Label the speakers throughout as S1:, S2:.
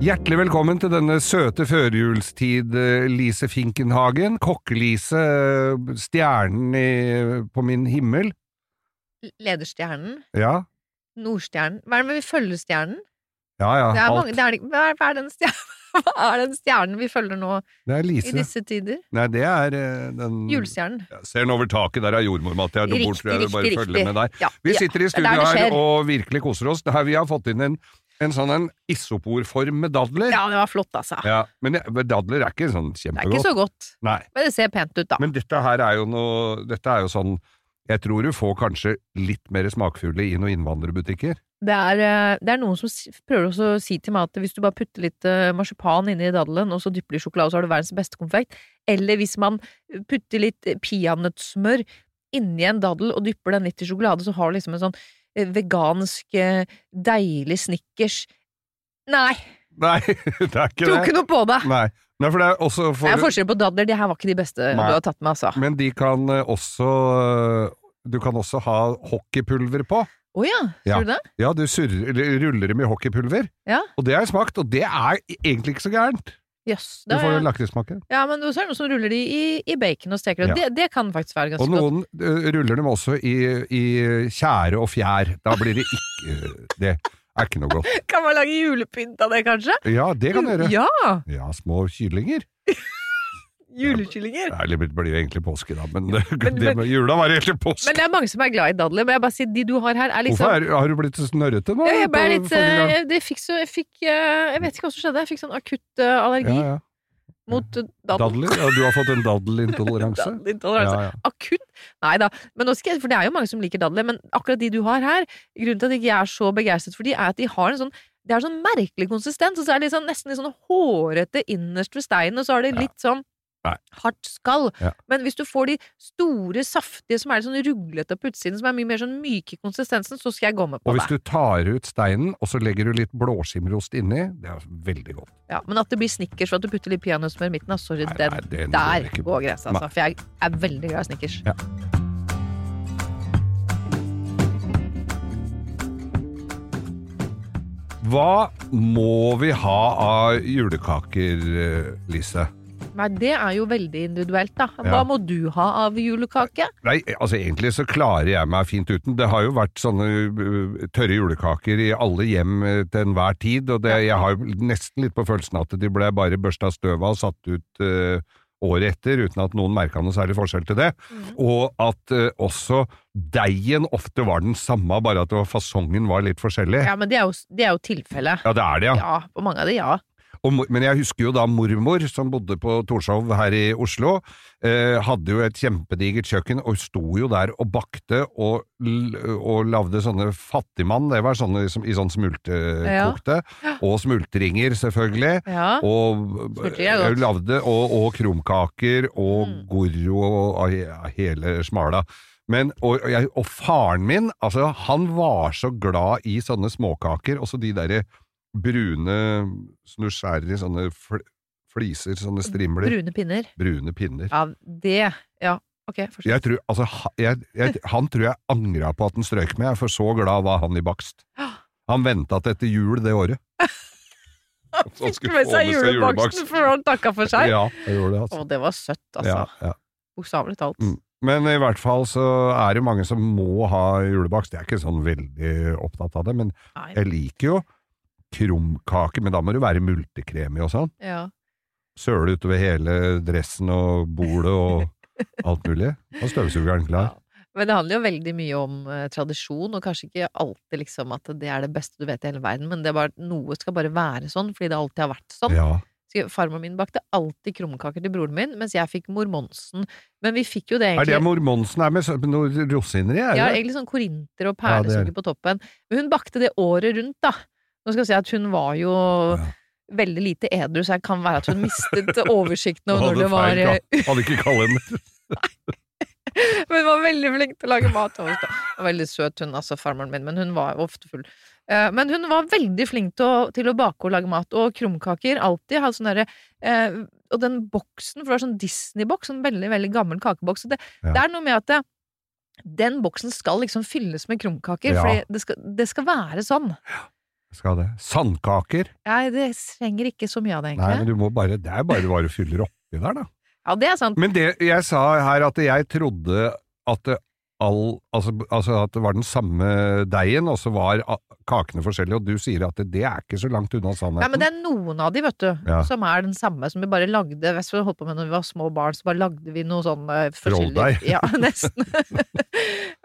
S1: Hjertelig velkommen til denne søte førjulstid, eh, Lise Finkenhagen. Kokkelise, eh, stjernen i, på min himmel.
S2: Lederstjernen?
S1: Ja,
S2: Nordstjernen? Hva er det med vi følger stjernen?
S1: ja, ja.
S2: Det er
S1: alt.
S2: mange, det er, det- hva, er, hva, er den stjernen, hva er den stjernen vi følger nå
S1: Det er
S2: i
S1: Lise.
S2: disse tider?
S1: Nei, det er eh, den
S2: Julestjernen.
S1: Ja, Ser den over taket, der er jordmor, Mathea. Du bort, tror jeg du bare følger med der.
S2: Ja,
S1: Vi
S2: ja.
S1: sitter i
S2: er der
S1: studio
S2: det
S1: her
S2: skjer.
S1: og virkelig koser oss. Det Her vi har fått inn en, en sånn en isoporform med dadler.
S2: ja, det var flott, altså.
S1: Ja, men jeg- men dadler er ikke sånn
S2: Det er ikke
S1: kjempegodt.
S2: så godt,
S1: Nei.
S2: men det ser pent ut, da.
S1: Men dette her er jo noe Dette er jo sånn Jeg tror du får kanskje litt mer smakfulle i noen innvandrerbutikker.
S2: Det er, eh, det er noen som s- prøver også å si til meg at hvis du bare putter litt eh, marsipan inni daddelen, og så dypper du i sjokolade, så har du verdens beste konfekt. Eller hvis man putter litt eh, peanøttsmør inni en daddel og dypper den litt i sjokolade, så har du liksom en sånn eh, vegansk, eh, deilig snickers. Nei,
S1: Nei, det er ikke
S2: tror
S1: det.
S2: ikke noe på det!
S1: Nei. Nei, for det er også
S2: Det er
S1: for,
S2: forskjell på dadler, de her var ikke de beste
S1: Nei.
S2: du har tatt med, altså.
S1: Men de kan eh, også eh, Du kan også ha hockeypulver på.
S2: Å ja,
S1: Ja.
S2: tror du det?
S1: Ja, du surrer, eller ruller dem i hockeypulver.
S2: Ja.
S1: Og det har jeg smakt, og det er egentlig ikke så gærent.
S2: Jøss.
S1: Du
S2: det
S1: får
S2: er-
S1: jo lakrissmaken.
S2: Ja, men så er det noen som ruller de i, i bacon og steker det.
S1: Ja.
S2: Det, det kan faktisk
S1: Og
S2: være ganske godt.
S1: noen eh, ruller dem også i, i tjære og fjær. Da blir det ikke eh, Det er ikke noe godt.
S2: Kan man lage julepynt av det, kanskje?
S1: Ja, det kan du gjøre.
S2: Ja!
S1: Ja, små kyllinger.
S2: Julekyllinger.
S1: Ja, Eller det blir jo egentlig påske, da, men,
S2: men-
S1: det med jula var egentlig påske.
S2: Men det er mange som er glad i dadler. Men jeg bare sier, de du har her, er liksom
S1: Hvorfor er, har du blitt så snørrete nå?
S2: Ja, jeg ble
S1: på
S2: litt
S1: forrige gang?
S2: eh, jeg, det fikk så, jeg, fikk, eh, jeg vet ikke hva som skjedde. Jeg fikk sånn akutt eh, allergi
S1: Ja, ja.
S2: mot eh, dadler. altså.
S1: Dadler? Ja, du har fått en daddelintoleranse?
S2: Daddelintoleranse.
S1: Ja, ja.
S2: Akutt? Nei da. Men nå skal jeg, for det er jo mange som liker dadler. Men akkurat de du har her, grunnen til at jeg ikke er så begeistret for de, er at de har en sånn det er en sånn merkelig konsistens, og så er det litt sånn, nesten litt sånn hårete innerst ved steinen, og så har det
S1: Ja.
S2: litt sånn
S1: Nei.
S2: hardt skall.
S1: Ja.
S2: Men hvis du får de store, saftige som er litt sånn ruglete på utsiden, som er mye mer sånn myke i konsistensen, så skal jeg gå med på
S1: Og
S2: det.
S1: hvis du tar ut steinen, og så legger du litt blåskimmelost inni, det er veldig godt.
S2: Ja, men at det blir snickers for at du putter litt peanøttsmør i midten, altså, sorry,
S1: Nei, nei,
S2: den,
S1: den går
S2: der
S1: ikke på.
S2: går grensa,
S1: Nei.
S2: altså. For jeg er veldig glad i snickers.
S1: Ja. Hva må vi ha av julekaker, eh, Lise?
S2: Nei, det er jo veldig individuelt, da. Hva
S1: Ja.
S2: må du ha av julekake?
S1: Nei, altså egentlig så klarer jeg meg fint uten. Det har jo vært sånne eh, tørre julekaker i alle hjem eh, til enhver tid, og det, jeg har jo nesten litt på følelsen at de ble bare børsta støv av og satt ut eh, året etter, uten at noen merka noe særlig forskjell til det. Og at eh, også deigen ofte var den samme, bare at det var- fasongen var litt forskjellig.
S2: Ja, men det er jo, det er jo tilfellet.
S1: Ja, det er det, ja.
S2: Ja, på mange av de, ja.
S1: Og, mor- men jeg husker jo da mormor, som bodde på Torshov her i Oslo, eh, hadde jo et kjempedigert kjøkken og sto jo der og bakte og, l- og lagde sånne fattigmann, det var sånne som, i sånn smultekokte, og smultringer selvfølgelig.
S2: ja.
S1: Og
S2: Smultringer er
S1: jeg
S2: godt.
S1: lagde, og, og krumkaker, og
S2: Mm.
S1: goro, og, og he- hele smala. Men, og, og jeg, og faren min, altså, han var så glad i sånne småkaker, også de der brune snusjærer i sånne fl fliser, sånne strimler,
S2: Brune pinner.
S1: brune pinner.
S2: Ja, det Ja, ok, forstår.
S1: Jeg tror, altså, ha- jeg, jeg, han tror jeg angra på at han strøyk med, for så glad var han i bakst. Han venta til etter jul det året. Han
S2: Fikk med seg julebaksten før han takka for seg.
S1: Ja, jeg gjorde det, altså.
S2: Å, det var søtt, altså.
S1: Ja, ja.
S2: Bokstavelig talt.
S1: Mm. Men i hvert fall så er det mange som må ha julebakst. Jeg er ikke sånn veldig opptatt av det, men
S2: Nei.
S1: jeg liker jo krumkake, men da må det være multekrem i og sånn.
S2: Ja.
S1: Søle utover hele dressen og bordet og alt mulig. Og støvsugeren klar.
S2: Ja. Men det handler jo veldig mye om eh, tradisjon, og kanskje ikke alltid liksom at det er det beste du vet i hele verden, men det er bare, noe skal bare være sånn, fordi det alltid har vært sånn.
S1: Ja.
S2: Så Farmor min bakte alltid krumkaker til broren min, mens jeg fikk mormonsen. Men vi fikk jo det
S1: Er det
S2: egentlig.
S1: mormonsen er med, så- med noe rosiner i? er
S2: Ja,
S1: det?
S2: egentlig sånn korinter
S1: Ja,
S2: og
S1: det er
S2: perlesukker på toppen. Men hun bakte det året rundt, da. Nå skal jeg si at hun var jo veldig lite edru, så det kan være at hun mistet oversikten over når det var eh,
S1: feil, ka- hadde ikke kalender.
S2: Men hun var veldig flink til å lage mat. til oss, da. Hun var veldig søt, hun, altså farmoren min, men hun var jo ofte full. Eh, Men hun var veldig flink til å, til å bake og lage mat, og krumkaker. Alltid hadde sånn derre eh, Og den boksen, for det var sånn Disney-boks, sånn veldig, veldig gammel kakeboks. og Det,
S1: Ja.
S2: det er noe med at det, den boksen skal liksom fylles med krumkaker,
S1: Ja.
S2: for det, skal- det skal være sånn.
S1: Skal det. Sandkaker?
S2: Nei, det trenger ikke så mye av det,
S1: Nei,
S2: egentlig.
S1: men du må bare, det er bare hva du fyller oppi der, da.
S2: Ja, det er sant.
S1: Men det jeg sa her, at jeg trodde at det all, altså, altså at det var den samme deigen, og så var a- kakene forskjellige, og du sier at det, det er ikke så langt unna sannheten.
S2: Nei, men det er noen av de, vet du,
S1: Ja.
S2: som er den samme, som vi bare lagde Hvis vi holdt på med når vi var små barn, så bare lagde vi noe sånn eh, forskjellig.
S1: Trolldeig.
S2: Ja, nesten.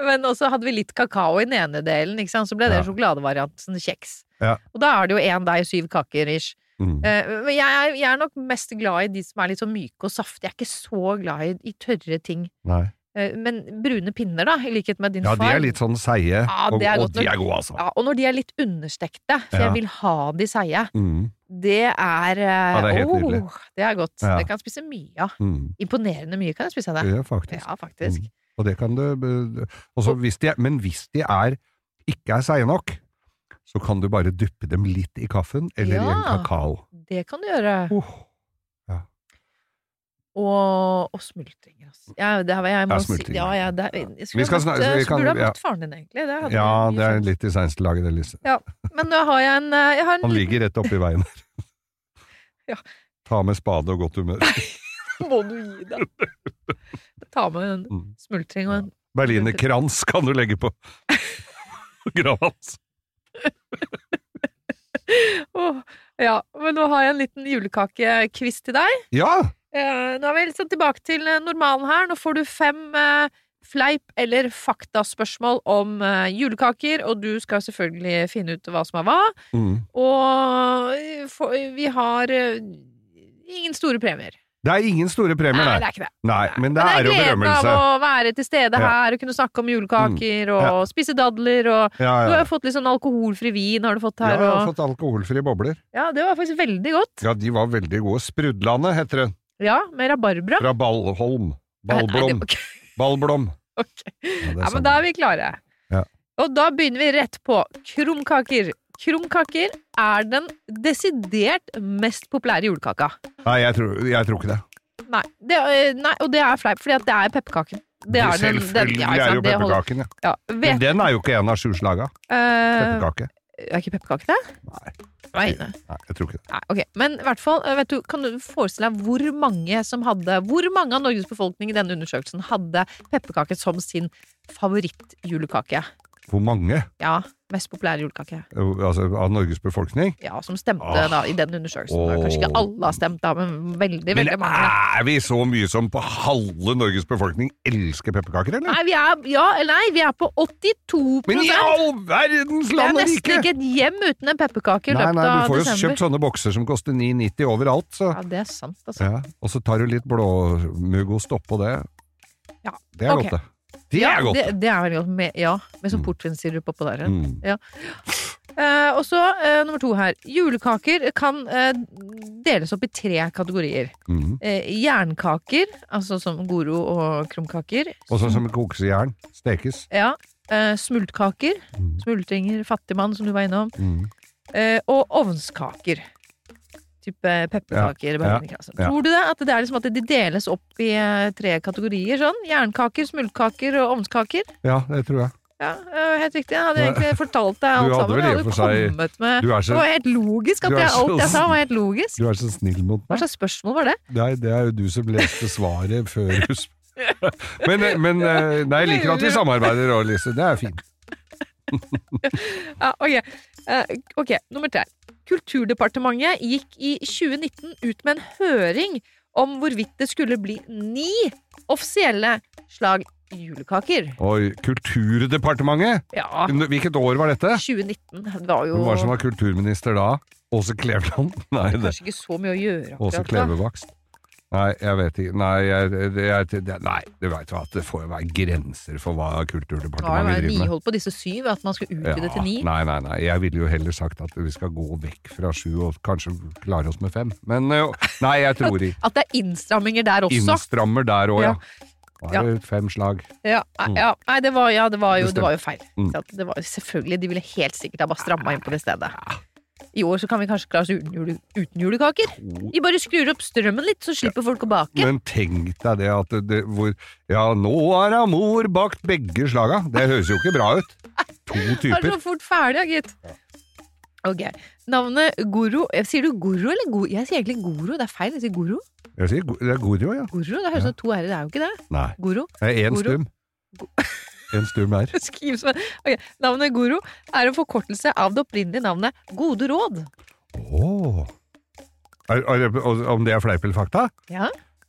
S2: men også hadde vi litt kakao i den ene delen, ikke sant, så ble det
S1: Ja.
S2: sjokoladevarianten kjeks.
S1: Ja.
S2: Og da er det jo én deig, syv kaker ish.
S1: Mm.
S2: Eh, Men jeg er, jeg er nok mest glad i de som er litt sånn myke og saftige. Jeg er ikke så glad i, i tørre ting.
S1: Nei.
S2: Eh, Men brune pinner, da, i likhet med din
S1: Ja, de
S2: far.
S1: er litt sånn seige,
S2: Ja,
S1: og,
S2: det er
S1: og
S2: godt
S1: de
S2: nok.
S1: er gode, altså.
S2: Ja, og når de er litt understekte, for
S1: Ja.
S2: jeg vil ha de seige,
S1: Mm.
S2: det er Ja,
S1: det er helt nydelig.
S2: Det er godt.
S1: Ja.
S2: Det kan jeg spise mye av.
S1: Mm.
S2: Imponerende mye kan jeg spise av det.
S1: Det er faktisk.
S2: Ja, faktisk.
S1: Mm. Og det kan du eh, og så hvis de, er- Men hvis de er, ikke er seige nok, så kan du bare dyppe dem litt i kaffen eller i en
S2: Ja.
S1: kakao.
S2: Det kan du gjøre.
S1: Åh,
S2: Og, og smultringer, altså. Ja, det har jeg, jeg må
S1: Ja,
S2: si
S1: smultringer.
S2: ja, ja, det, er- jeg skulle
S1: Vi skal
S2: ha
S1: snakke-
S2: møtt, eh,
S1: vi
S2: så
S1: kan-
S2: burde ha
S1: ja.
S2: møtt faren din, egentlig. Det hadde
S1: ja,
S2: vært mye
S1: det er
S2: fint.
S1: litt i seinste laget, det, Lise.
S2: Men nå har jeg en, eh, jeg har en
S1: Han
S2: liten
S1: ligger rett oppi veien her.
S2: Ja.
S1: Ta med spade og godt humør.
S2: Må du gi deg? Ta med en
S1: Mm.
S2: smultring og en
S1: Berlinerkrans kan du legge på grava hans.
S2: Åh, Ja, men nå har jeg en liten julekakekviss til deg.
S1: Ja!
S2: Eh, nå er vi liksom tilbake til eh, normalen her. Nå får du fem eh, fleip- eller faktaspørsmål om eh, julekaker, og du skal selvfølgelig finne ut hva som er hva.
S1: Mm.
S2: Og eh, få- vi har eh, ingen store premier.
S1: Det er ingen store premier,
S2: Nei,
S1: nei.
S2: det er ikke det.
S1: nei men det er jo
S2: gleden av
S1: berømmelse.
S2: å være til stede
S1: Ja. Mm.
S2: her og kunne snakke om julekaker og
S1: Ja.
S2: spise dadler
S1: Ja,
S2: og Du
S1: ja.
S2: har jo fått litt sånn alkoholfri vin, har du fått
S1: Ja,
S2: her
S1: jeg har
S2: og
S1: fått alkoholfrie bobler.
S2: Ja, det var faktisk veldig godt.
S1: Ja, de var veldig gode. Sprudlandet heter det.
S2: Ja, med rabarbra.
S1: Fra Ballholm.
S2: Nei,
S1: Ballblom.
S2: det-
S1: Ballblom.
S2: ok.
S1: Ja, det sånn.
S2: Ja,
S1: samme.
S2: men da er vi klare.
S1: Ja.
S2: Og da begynner vi rett på krumkaker. Krumkaker er den desidert mest populære julekaka.
S1: Nei, jeg tror, jeg tror ikke det.
S2: Nei, det, øh, nei og det er fleip, fordi at det er pepperkaken. Det er den- den-
S1: Selvfølgelig
S2: ikke
S1: er
S2: sant,
S1: jo
S2: det holder-
S1: pepperkaken, ja.
S2: Ja,
S1: Men
S2: vet,
S1: den er jo ikke en av sju slaga.
S2: øh,
S1: Pepperkake.
S2: er ikke pepperkake det?
S1: Nei.
S2: Nei, nei.
S1: Nei, jeg tror ikke det.
S2: nei, ok. Men i hvert fall, øh, vet du, kan du forestille deg hvor mange som hadde Hvor mange av Norges befolkning i denne undersøkelsen hadde pepperkake som sin favorittjulekake?
S1: Hvor mange
S2: Ja, mest populære julekake.
S1: altså, av Norges befolkning?
S2: ja, som stemte
S1: Åh.
S2: da, i den undersøkelsen. Da. Kanskje ikke
S1: Åh.
S2: alle har stemt, da, men veldig
S1: Men
S2: veldig mange.
S1: er vi så mye som på halve Norges befolkning elsker pepperkaker, eller?
S2: Nei, vi er, ja, eller nei, vi er på 82
S1: Men i all verdens
S2: Det er
S1: land og
S2: nesten
S1: rike!
S2: ikke et hjem uten en pepperkake i
S1: Nei,
S2: løpet
S1: nei, du
S2: av
S1: får jo
S2: desember.
S1: kjøpt sånne bokser som koster 9,90 overalt, så
S2: Ja, det er sant, altså.
S1: ja. Og så tar du litt blåmuggost oppå det.
S2: Ja,
S1: Det er
S2: ok.
S1: godt, det. Det
S2: Ja,
S1: er godt!
S2: Det, det er veldig godt. Med, ja, med sånn
S1: Mm.
S2: portvinsirup oppå der.
S1: Mm.
S2: Eh, og så eh, nummer to her. Julekaker kan eh, deles opp i tre kategorier.
S1: Mm.
S2: Eh, jernkaker, altså som Goro og krumkaker.
S1: Og sånn som kokes i jern. Stekes.
S2: Ja. Eh, smultkaker.
S1: Mm.
S2: Smultringer, fattigmann, som du var innom.
S1: Mm.
S2: Eh, og ovnskaker. Type pepperkaker.
S1: ja,
S2: berlinerkranser.
S1: ja.
S2: Tror du det? At det er liksom at de deles opp i eh, tre kategorier? sånn? Jernkaker, smultkaker og ovnskaker?
S1: Ja, det tror jeg.
S2: Ja, eh, Helt riktig. Jeg hadde
S1: Ja.
S2: egentlig fortalt deg alt
S1: Du hadde
S2: sammen.
S1: vel
S2: Jeg
S1: i og for seg-
S2: kommet med...
S1: Du er
S2: Det
S1: så,
S2: var helt logisk.
S1: Du
S2: at
S1: er
S2: jeg,
S1: så-
S2: Alt jeg sa, var helt logisk.
S1: du er så snill mot
S2: Hva
S1: meg.
S2: slags spørsmål var det?
S1: Nei, det er jo du som leste svaret før du s- men, men eh, Nei, jeg liker at vi samarbeider òg, Lise. Det er fint.
S2: Ja, ok. Eh, ok, nummer tre. Kulturdepartementet gikk i 2019 ut med en høring om hvorvidt det skulle bli ni offisielle slag julekaker.
S1: Oi, Kulturdepartementet?
S2: Ja,
S1: Hvilket år var dette?
S2: 2019 det var Ah. jo
S1: Hvem var det som var kulturminister da? Åse Kleveland? Nei, det
S2: kanskje ikke så mye å gjøre.
S1: Åse
S2: akkurat da.
S1: Klevevakst. Nei, jeg vet ikke. Nei, jeg, jeg, det- nei du veit hva, det får jo være grenser for hva
S2: Det var
S1: Kulturdepartementet
S2: jo
S1: driver med.
S2: nyholdt på disse syv, at man skulle utvide til ni.
S1: Nei, nei, nei. Jeg ville jo heller sagt at vi skal gå vekk fra sju og kanskje klare oss med fem. Men eh, nei, jeg tror ikke.
S2: At det er innstramminger der også.
S1: Innstrammer der òg, ja. Da
S2: Ja.
S1: er det fem slag.
S2: Ja, ja, nei, det var, ja, det var, jo,
S1: Mm. Det Mm.
S2: det var jo feil. Ikke sant? Det var, jo- selvfølgelig, De ville helt sikkert ha bare stramma inn på det stedet. I år så kan vi kanskje klare oss uten, jule, uten julekaker. Vi bare skrur opp strømmen litt, så slipper folk å bake.
S1: Men tenk deg det at det, det hvor Ja, nå har da mor bakt begge slaga. Det høres jo ikke bra ut. To
S2: Det er
S1: typer.
S2: så fort ferdig, ja, gitt. Ok. Navnet Goro eh, Sier du Goro eller Goro? Jeg sier egentlig Goro. Det er feil. Jeg sier Goro.
S1: Jeg sier go- det er Gorio, ja.
S2: Goro, Det høres ut som to r-er. Det er jo ikke det.
S1: Nei.
S2: Goro.
S1: Det er én
S2: Goro.
S1: stum. En stum her.
S2: Skriv som Ok, Navnet Goro er en forkortelse av det opprinnelige navnet Gode råd.
S1: Åh. Er, er, det- om det er fleip eller fakta?
S2: Ja,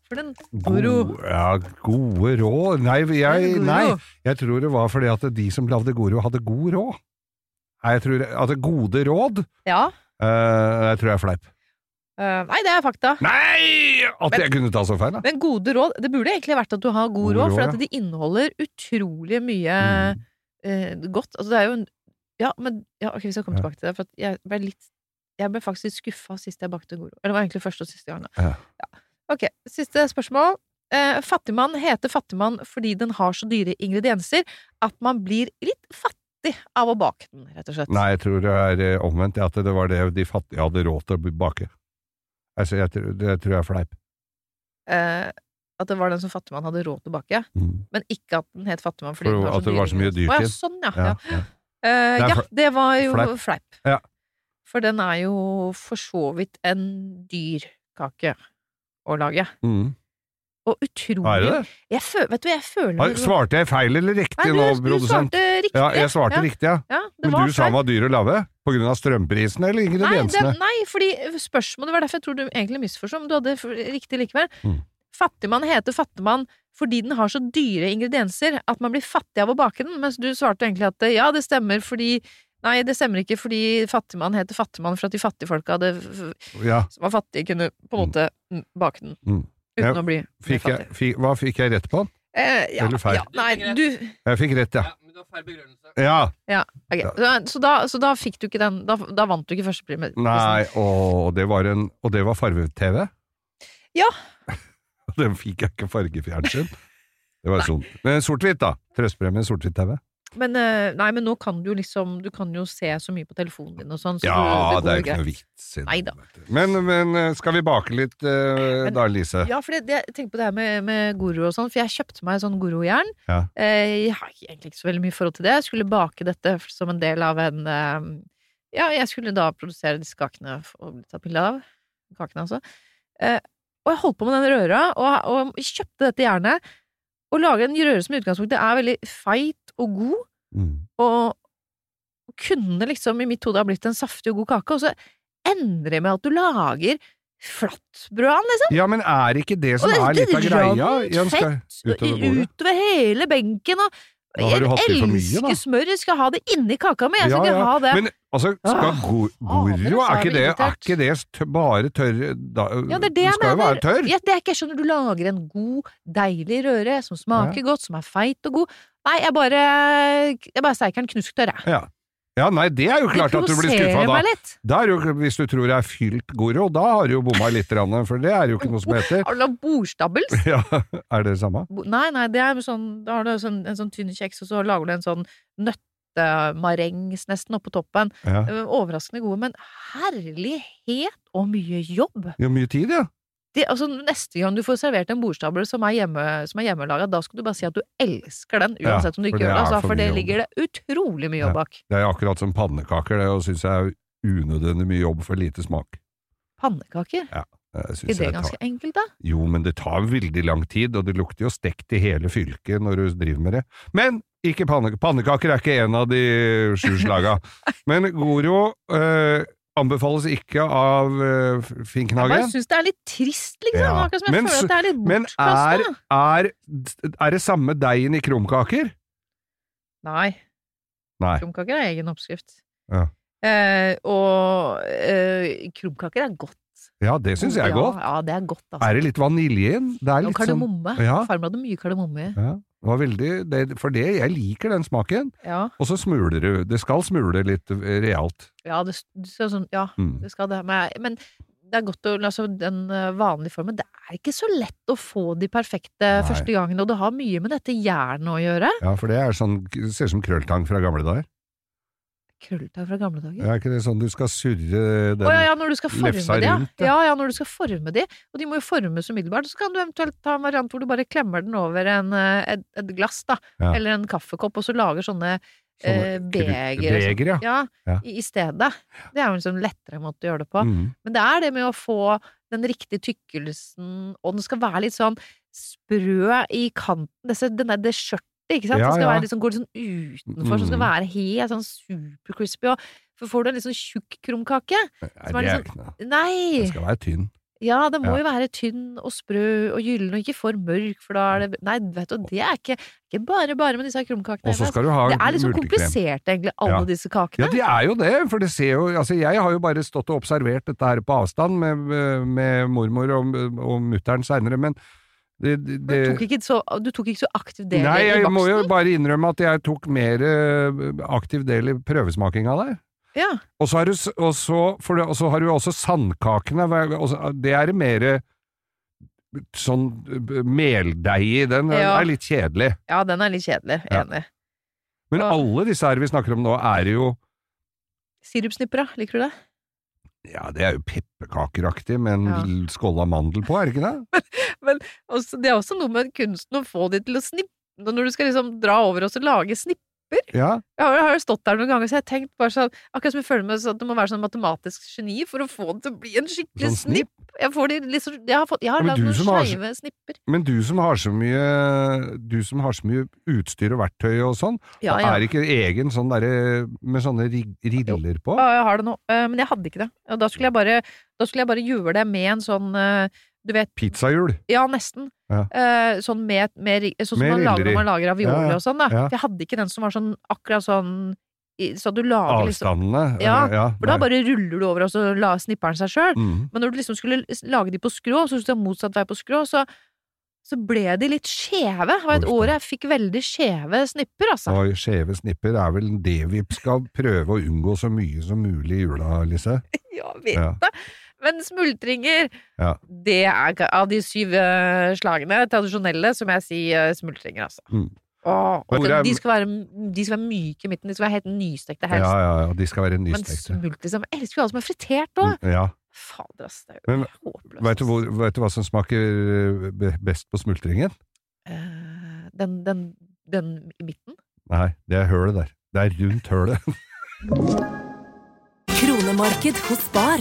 S2: for den
S1: Gode- ja, gode råd Nei, jeg,
S2: Goro.
S1: nei, jeg tror det var fordi at de som lagde Goro, hadde god råd. Nei, jeg tror at det gode råd
S2: Ja.
S1: eh, Jeg tror jeg er fleip.
S2: Eh, nei, det er fakta.
S1: Nei! At
S2: Men-
S1: jeg kunne ta så feil, da!
S2: Men gode råd Det burde egentlig vært at du har god
S1: Gode
S2: råd, for
S1: råd, Mm.
S2: at de inneholder utrolig mye eh, godt. Altså, det er jo en Ja, men ja, ok, vi skal komme
S1: Ja.
S2: tilbake til det, for at jeg ble litt Jeg ble faktisk litt skuffa sist jeg bakte god råd. Eller det var egentlig første og siste gang, da.
S1: Ja.
S2: Ja. Ok, siste spørsmål. Eh, fattigmann heter fattigmann fordi den har så dyre ingredienser at man blir litt fattig av å bake den, rett og slett.
S1: Nei, jeg tror det er eh, omvendt, at det var det de fattige hadde råd til å bake. Altså, jeg, tror- det tror jeg er fleip.
S2: Eh, at det var den som fattigmann hadde råd til å bake.
S1: Mm,
S2: Men ikke at den het Fattigmann fordi
S1: For
S2: den har
S1: at
S2: så
S1: det var så mye
S2: dyr-
S1: dyrt i
S2: Å, ja,
S1: den.
S2: sånn, ja.
S1: Ja,
S2: ja.
S1: ja.
S2: Eh,
S1: Det er
S2: ja,
S1: fl-
S2: det var jo
S1: fleip.
S2: fleip.
S1: Ja.
S2: For den er jo for så vidt en dyr kake å lage.
S1: Mm.
S2: Og utrolig
S1: Er det det?
S2: Jeg føl, Vet du, jeg føler
S1: Har- Svarte jeg feil eller riktig
S2: Nei,
S1: nå,
S2: du, du
S1: produsent?
S2: svarte riktig.
S1: Ja, jeg svarte
S2: Ja,
S1: riktig, ja.
S2: Ja, det
S1: Men
S2: var
S1: du sa
S2: fleip.
S1: den var dyr å lage? På grunn av strømprisen eller
S2: Nei, det,
S1: ingrediensene?
S2: nei, fordi spørsmålet var derfor jeg tror du egentlig misforstod, men du hadde f- riktig likevel.
S1: Mm.
S2: Fattigmann heter fattigmann fordi den har så dyre ingredienser at man blir fattig av å bake den, mens du svarte egentlig at eh, ja, det stemmer fordi Nei, det stemmer ikke fordi fattigmann heter fattigmann for at de fattigfolka hadde, f-
S1: Ja.
S2: som var fattige, kunne på en måte mm, bake den.
S1: Mm.
S2: Uten
S1: Ja,
S2: å bli mer
S1: Fikk jeg,
S2: fattig.
S1: fikk, hva fikk jeg rett på?
S2: Eh, ja,
S1: eller feil?
S2: Ja, nei, du
S1: Jeg fikk rett, ja.
S3: men du har feil begrunnelse.
S1: Ja,
S2: ok, så, da, så da fikk du ikke den Da, da vant du ikke førsteprisen.
S1: nei, og det var, en- og det var farge-TV?
S2: Ja.
S1: Den fikk jeg ikke fargefjernsyn. Det var sånn. Men sort-hvitt, da. Trøstpremie sort-hvitt-TV.
S2: Men, eh, nei, men nå kan du jo liksom Du kan jo se så mye på telefonen din og sånn. Så
S1: Ja, det er
S2: du, går
S1: jo ikke
S2: jo
S1: noe
S2: greit.
S1: vits i det.
S2: Neida.
S1: vet du. Men, men eh, skal vi bake litt eh,
S2: Men-
S1: da, Lise?
S2: Ja, for det, det, jeg tenker på det her med, med goro og sånn, for jeg kjøpte meg sånn gorojern.
S1: Ja.
S2: Eh, jeg har ikke- egentlig ikke så veldig mye forhold til det. Jeg skulle bake dette som en del av en eh, Ja, jeg skulle da produsere disse kakene og bli tatt bilde av. Kakene, altså. Eh, og jeg holdt på med den røra, og, og kjøpte dette jernet. Å lage en røre som i utgangspunktet er veldig feit og god,
S1: Mm.
S2: og kunne liksom i mitt hode ha blitt en saftig og god kake, og så endrer jeg med at du lager flatbrøden, liksom.
S1: Ja, men er ikke det som
S2: Og det
S1: er litt av
S2: rant
S1: greia? Jan, skal-
S2: fett
S1: utover bordet?
S2: utover hele benken, og
S1: Da har
S2: jeg
S1: du hatt i for mye, da.
S2: elsker smør, jeg skal ha det inni kaka mi, jeg skal
S1: Ja,
S2: ikke
S1: ja.
S2: ha det. Ah.
S1: Men altså, skal
S2: Åh,
S1: go Goro
S2: så
S1: Er
S2: er
S1: ikke
S2: vi
S1: det, er
S2: irritert.
S1: ikke det tø- bare tørr da,
S2: Ja, det er det
S1: Den
S2: jeg
S1: skal jo
S2: mener.
S1: være tørr.
S2: Ja, det er ikke jeg skjønner, du lager en god, deilig røre som smaker godt, som er feit og god. Nei, jeg bare, jeg bare steiker den knusktørr, jeg.
S1: Ja. ja, nei, det er jo
S2: Det
S1: klart at du blir skuffa
S2: provoserer
S1: da.
S2: meg litt.
S1: Da er det jo, hvis du tror det er fylt Goro, da har du jo bomma litt, grann, for det er jo ikke noe som heter.
S2: Har du lagd bordstabbels?
S1: Ja, er det det samme?
S2: Bo- Nei, nei, det er jo sånn Da har du sånn, en sånn tynn kjeks, og så lager du en sånn nøttemarengs nesten oppå toppen.
S1: Ja.
S2: Eh, Overraskende gode, men herlighet og mye jobb!
S1: Det er mye tid, ja.
S2: Det, altså, neste gang du får servert en bordstabel som er, hjemme, som er hjemmelaga, da skal du bare si at du elsker den,
S1: Ja,
S2: uansett om du
S1: for
S2: ikke
S1: det
S2: gjør det,
S1: er
S2: altså,
S1: for
S2: for det
S1: mye jobb.
S2: ligger det utrolig mye
S1: Ja.
S2: jobb bak.
S1: Det er akkurat som pannekaker, det, og syns jeg er unødvendig mye jobb for lite smak.
S2: Pannekaker?
S1: Eh, synes
S2: Er
S1: jeg
S2: det
S1: tar-
S2: ganske enkelt, da?
S1: Jo, men det tar veldig lang tid, og det lukter jo stekt i hele fylket når du driver med det. Men ikke pannekaker. Pannekaker er ikke en av de sju slaga. Men Goro eh, anbefales ikke av eh,
S2: Jeg bare
S1: Finkenhagen.
S2: syns det er litt trist, liksom.
S1: Ja.
S2: Akkurat som jeg
S1: Men
S2: føler
S1: så-
S2: at det er litt
S1: Men er,
S2: bortkasta.
S1: er, er det samme deigen i krumkaker?
S2: Nei.
S1: Nei.
S2: Krumkaker er egen oppskrift.
S1: Ja.
S2: Eh, og eh, eh, krumkaker er godt.
S1: Ja, det syns jeg er
S2: ja,
S1: godt.
S2: Ja, det er godt, altså.
S1: Er det litt vanilje i den? Det er
S2: og
S1: litt sånn
S2: kardemomme.
S1: Ja.
S2: Farmor hadde mye kardemomme. i.
S1: ja, det var veldig, det, For det, jeg liker den smaken.
S2: Ja,
S1: Og så smuler du. Det skal smule litt eh, realt.
S2: ja, det, det ser sånn, ja,
S1: Mm.
S2: det skal det. Men, jeg- men det er godt å altså, Den eh, vanlige formen Det er ikke så lett å få de perfekte første gangen, og det har mye med dette jernet å gjøre.
S1: Ja, for det er sånn, ser ut som krølltang fra gamle dager.
S2: Krølltang fra gamle dager.
S1: Er ikke det sånn du skal surre den
S2: Å ja, ja, når du skal
S1: lefsa
S2: forme de. ja.
S1: rundt, ja.
S2: Ja, ja, når du skal forme de. Og de må jo formes umiddelbart. Så kan du eventuelt ta en variant hvor du bare klemmer den over en, eh, et, et glass, da.
S1: Ja.
S2: Eller en kaffekopp, og så lager sånne, eh,
S1: sånne kru-
S2: beger. og sånt.
S1: Beger, ja.
S2: Ja,
S1: Ja.
S2: I, i stedet. Det er jo en sånn lettere måte å gjøre det på.
S1: Mm.
S2: Men det er det med å få den riktige tykkelsen, og den skal være litt sånn sprø i kanten. Disse, den der, det skjørtet, ikke sant?
S1: Ja,
S2: den skal
S1: ja.
S2: være litt sånn, gå litt sånn utenfor, så den skal
S1: Mm.
S2: være helt sånn super crispy. Og for får du en litt sånn tjukk krumkake?
S1: Nei, det
S2: Som er
S1: er
S2: litt sånn
S1: ikke noe. Den
S2: Nei!
S1: skal være tynn.
S2: Ja, den må jo være tynn og sprø og gyllen, og ikke for mørk, for da er det Nei, vet du, det er ikke, ikke bare bare med disse her krumkakene.
S1: Og så
S2: Einar.
S1: skal du ha
S2: det er litt sånn
S1: multekrem.
S2: komplisert, egentlig, alle
S1: Ja.
S2: disse
S1: Ja,
S2: kakene.
S1: de er jo det, for det ser jo Altså, jeg har jo bare stått og observert dette her på avstand med, med mormor og, og mutter'n seinere, men det, det,
S2: Men
S1: det
S2: du, tok ikke så, du tok ikke så aktiv del
S1: Nei,
S2: i
S1: jeg må jo
S2: baksten?
S1: bare innrømme at jeg tok mer eh, aktiv del i prøvesmakinga der.
S2: Ja.
S1: Og så har du, s- og så, for det, og så har du jo også sandkakene, hva- og så- eh, det er mer sånn eh, meldeig i, den
S2: Ja.
S1: er litt kjedelig.
S2: ja, den er litt kjedelig.
S1: Ja.
S2: Enig.
S1: Men
S2: Ja.
S1: alle disse her vi snakker om nå, er jo
S2: Sirupsnipper, da? Liker du det?
S1: Ja, det er jo pepperkakeraktig med en
S2: Ja.
S1: l- skål av mandel på, er det ikke det?
S2: Og så- det er også noe med kunsten å få de til å snippe. Når du skal liksom dra over og så lage snipp
S1: Ja,
S2: Jeg har, jeg har jo stått der noen ganger, så jeg har tenkt bare sånn Akkurat som jeg føler meg sånn at du må være sånn matematisk geni for å få det til å bli en skikkelig
S1: sånn
S2: snipp.
S1: snipp.
S2: Jeg, får de liksom, jeg har, fått, jeg har
S1: Ja, men
S2: lagd
S1: du
S2: noen
S1: som har så-
S2: skeive snipper.
S1: Men du som har så mye, du som har så mye utstyr og verktøy og sånn,
S2: Ja, ja.
S1: er ikke egen sånn derre med sånne rig- riller på?
S2: Ja, jeg har det nå, eh, men jeg hadde ikke det. Og da skulle jeg bare, da skulle jeg bare gjøre det med en sånn eh, du vet,
S1: Pizzahjul.
S2: ja, nesten.
S1: Ja.
S2: Eh, sånn med, med, ri- sånn som
S1: Med
S2: man lager
S1: riller i.
S2: når man lager ravioli
S1: Ja, ja.
S2: og sånn, da.
S1: Ja.
S2: For jeg hadde ikke den som var sånn akkurat sånn i- Så du lager liksom
S1: Avstandene.
S2: Ja,
S1: eh, ja
S2: For da
S1: nei.
S2: bare ruller du over, og så la, snipper den seg sjøl.
S1: Mm.
S2: Men når du liksom skulle s- lage de på skrå, så skulle du ha motsatt vei på skrå, så, så ble de litt skjeve. Det var
S1: Uff
S2: et
S1: da.
S2: år jeg fikk veldig skjeve snipper, altså.
S1: Og skjeve snipper er vel det vi skal prøve å unngå så mye som mulig i jula, Lise.
S2: Ja, vet
S1: Ja.
S2: det. Men smultringer,
S1: Ja.
S2: det er ga- av de syv eh, slagene, tradisjonelle, som jeg sier eh, smultringer, altså.
S1: Mm.
S2: Åh, og
S1: Hvor
S2: den-
S1: er-
S2: de, skal være, de skal være myke i midten, de skal være helt nystekte
S1: Ja,
S2: helst.
S1: ja, ja, de skal være
S2: Men
S1: nystekte.
S2: smult, liksom. Jeg elsker jo alt som er fritert òg.
S1: Mm, Ja.
S2: Fader, ass. Det er jo
S1: Men
S2: håpløst.
S1: Vet du,
S2: ass.
S1: hvor, vet du hva som smaker eh, be- best på smultringen?
S2: Eh, den, den, den i midten?
S1: Nei, det er hølet der. Det er rundt hølet.
S4: Kronemarked hos Spar.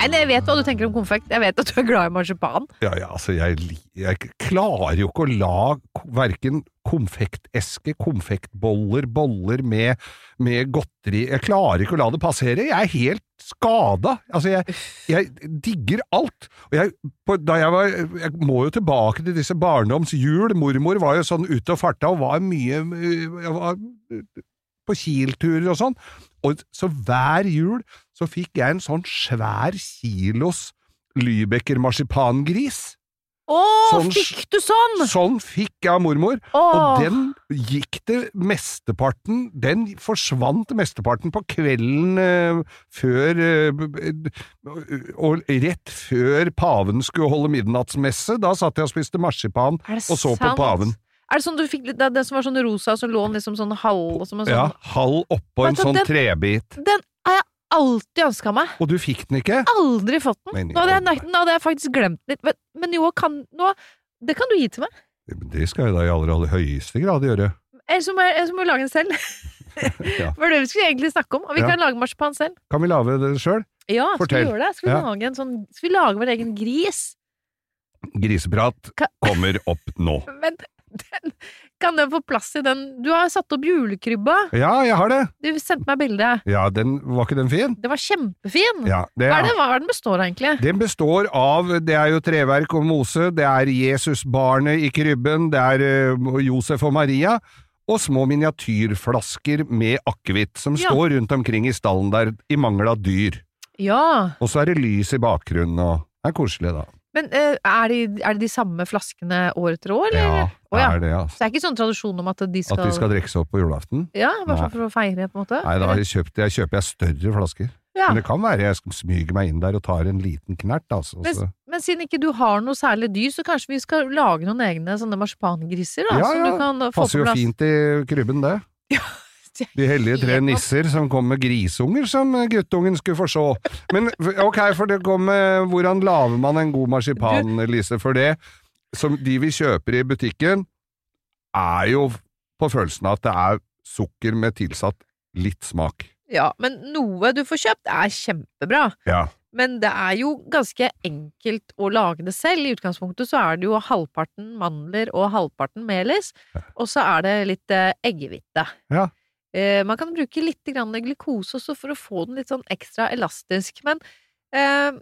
S2: Nei, Jeg vet hva du tenker om konfekt. Jeg vet at du er glad i marsipan.
S1: Ja, ja, altså, jeg, li- jeg klarer jo ikke å la k- verken konfekteske, konfektboller, boller med, med godteri Jeg klarer ikke å la det passere. Jeg er helt skada. Altså, jeg, jeg digger alt. Og jeg, på, da jeg var Jeg må jo tilbake til disse barndomshjul. Mormor var jo sånn ute og farta og var mye øh, jeg var øh, på Kiel-turer og sånn. Og så hver jul så fikk jeg en sånn svær kilos Lybecker marsipangris.
S2: Å,
S1: Sånn
S2: fikk du sånn?
S1: Sånn fikk jeg av mormor, og
S2: Åh,
S1: den gikk det mesteparten Den forsvant mesteparten på kvelden eh, før eh, b- b- Og rett før paven skulle holde midnattsmesse. Da satt jeg og spiste marsipan.
S2: er det
S1: og så på
S2: sant?
S1: paven.
S2: Er det sånn du fikk litt- det er Den som var sånn rosa, som lå liksom sånn halv og som en
S1: Ja,
S2: sånn
S1: halv oppå en
S2: Vet du,
S1: sånn
S2: den-
S1: trebit.
S2: Den har jeg alltid ønska meg.
S1: Og du fikk den ikke?
S2: Aldri fått
S1: Men
S2: den.
S1: i
S2: Nå hadde jeg,
S1: alle
S2: nøkt- nå hadde jeg faktisk glemt den. Men, men jo, kan, nå, det kan du gi til meg.
S1: Det skal jeg da i aller, aller høyeste grad gjøre.
S2: Eller så må jeg, eller så må jeg lage den selv.
S1: Ja.
S2: For det skulle vi egentlig snakke om. Og vi
S1: Ja.
S2: kan lage marsipan selv.
S1: Kan vi lage det sjøl?
S2: Ja, skal vi
S1: Fortell.
S2: gjøre det? Skal vi,
S1: Ja.
S2: lage en sånn, skal vi lage vår egen gris?
S1: Griseprat
S2: Ka-
S1: kommer opp nå.
S2: Men den, kan den få plass i den Du har satt opp julekrybba.
S1: Ja, jeg har det!
S2: Du sendte meg bilde.
S1: Ja, den, Var ikke den fin?
S2: Det var kjempefin!
S1: Ja, det,
S2: Hva er det hva er den består av, egentlig?
S1: Den består av Det er jo treverk og mose, det er Jesusbarnet i krybben, det er eh, Josef og Maria, og små miniatyrflasker med akevitt som
S2: Ja.
S1: står rundt omkring i stallen der i mangel av dyr.
S2: Ja,
S1: Og så er det lys i bakgrunnen, og det er koselig, da.
S2: men eh, er, de, er det de samme flaskene år etter år, eller?
S1: Ja,
S2: Å,
S1: det
S2: ja.
S1: er det, altså.
S2: Så det er ikke sånn tradisjon om at de skal,
S1: At vi skal drikke seg opp på julaften?
S2: Ja, bare
S1: Nei.
S2: sånn for å feire, på en måte?
S1: Nei, da har jeg kjøpt, jeg kjøper jeg større flasker.
S2: ja.
S1: Men det kan være jeg skal smyge meg inn der og tar en liten knert, altså.
S2: Men,
S1: Så.
S2: men siden ikke du har noe særlig dyr, så kanskje vi skal lage noen egne sånne marsipangriser, da?
S1: Ja,
S2: som
S1: ja,
S2: du kan få
S1: Passer
S2: på
S1: jo
S2: plass.
S1: fint i krybben, det. De hellige tre
S2: Ja.
S1: nisser som kom med grisunger som guttungen skulle få se. Men ok, for det kom med Hvordan lager man en god marsipan, Lise? For det som de vi kjøper i butikken, er jo på følelsen av at det er sukker med tilsatt litt smak.
S2: Ja, men noe du får kjøpt er kjempebra.
S1: Ja.
S2: Men det er jo ganske enkelt å lage det selv. I utgangspunktet så er det jo halvparten mandler og halvparten melis, og så er det litt eh, eggehvite.
S1: Ja.
S2: Eh, man kan bruke litt grann glukose også for å få den litt sånn ekstra elastisk, men eh,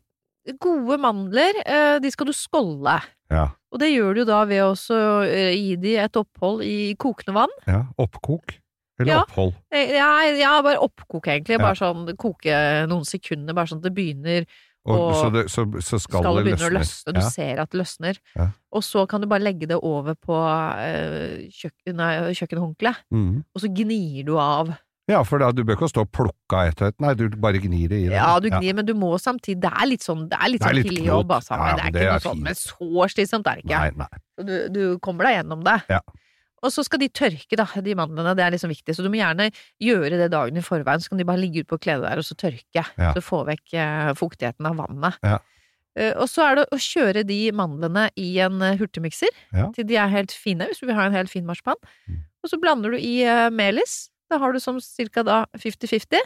S2: gode mandler, eh, de skal du skålle.
S1: Ja.
S2: Og det gjør du jo da ved å også, eh, gi de et opphold i kokende vann.
S1: ja. Oppkok? Eller
S2: Ja.
S1: opphold?
S2: Eh, Ja, ja bare oppkoke egentlig,
S1: Ja.
S2: bare sånn koke noen sekunder, bare sånn at det begynner
S1: Og,
S2: Og
S1: så, det, så, så skal,
S2: skallet
S1: det løsne.
S2: begynner å løsne, du
S1: Ja.
S2: ser at det løsner.
S1: Ja.
S2: Og så kan du bare legge det over på eh, kjøkken, nei, kjøkkenhåndkleet,
S1: Mhm.
S2: og så gnir du av.
S1: ja, for da, du bør ikke stå og plukke av et og et, nei, du bare gnir det i det.
S2: Ja, du gnir, men du må samtidig Det er litt sånn det er litt
S1: Det er
S2: sånn
S1: litt
S2: tidlig
S1: knot.
S2: jobb, altså.
S1: Ja,
S2: Men
S1: ja,
S2: det
S1: men
S2: er
S1: det
S2: ikke
S1: er
S2: noe sånn,
S1: fint.
S2: men så slitsomt er det ikke.
S1: Nei, nei.
S2: Så Du, du kommer deg gjennom det.
S1: Ja.
S2: Og så skal de tørke, da, de mandlene. Det er liksom viktig. Så du må gjerne gjøre det dagen i forveien, så kan de bare ligge ute på kledet der og så tørke.
S1: Ja.
S2: Så få vekk eh, fuktigheten av vannet.
S1: Ja.
S2: Eh, og så er det å kjøre de mandlene i en eh, hurtigmikser
S1: Ja.
S2: til de er helt fine, hvis du vil ha en helt fin marsipan.
S1: Mm.
S2: Og så blander du i eh, melis. Da har du som cirka da 50-50.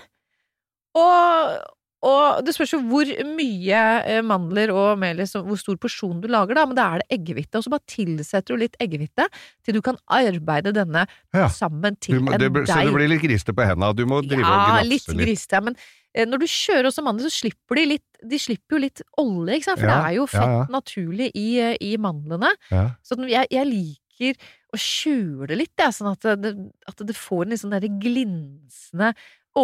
S2: Og, og det spørs jo hvor mye eh, mandler og melis, og hvor stor porsjon du lager, da, men da er det eggehvite. Og så bare tilsetter du litt eggehvite til du kan arbeide denne
S1: Ja. Du
S2: sammen til
S1: må, det,
S2: en
S1: blir-
S2: deig.
S1: så det blir litt griste på henda, du må drive
S2: ja,
S1: og
S2: litt
S1: gnafse litt.
S2: griste, men eh, når du kjører også mandler, så slipper de litt De slipper jo litt olje, ikke sant, for
S1: Ja,
S2: det er jo
S1: ja,
S2: fett
S1: ja.
S2: naturlig i, eh, i mandlene.
S1: Ja.
S2: Så den- jeg, jeg liker å skjule litt, jeg, sånn at det, at det får en litt sånn der glinsende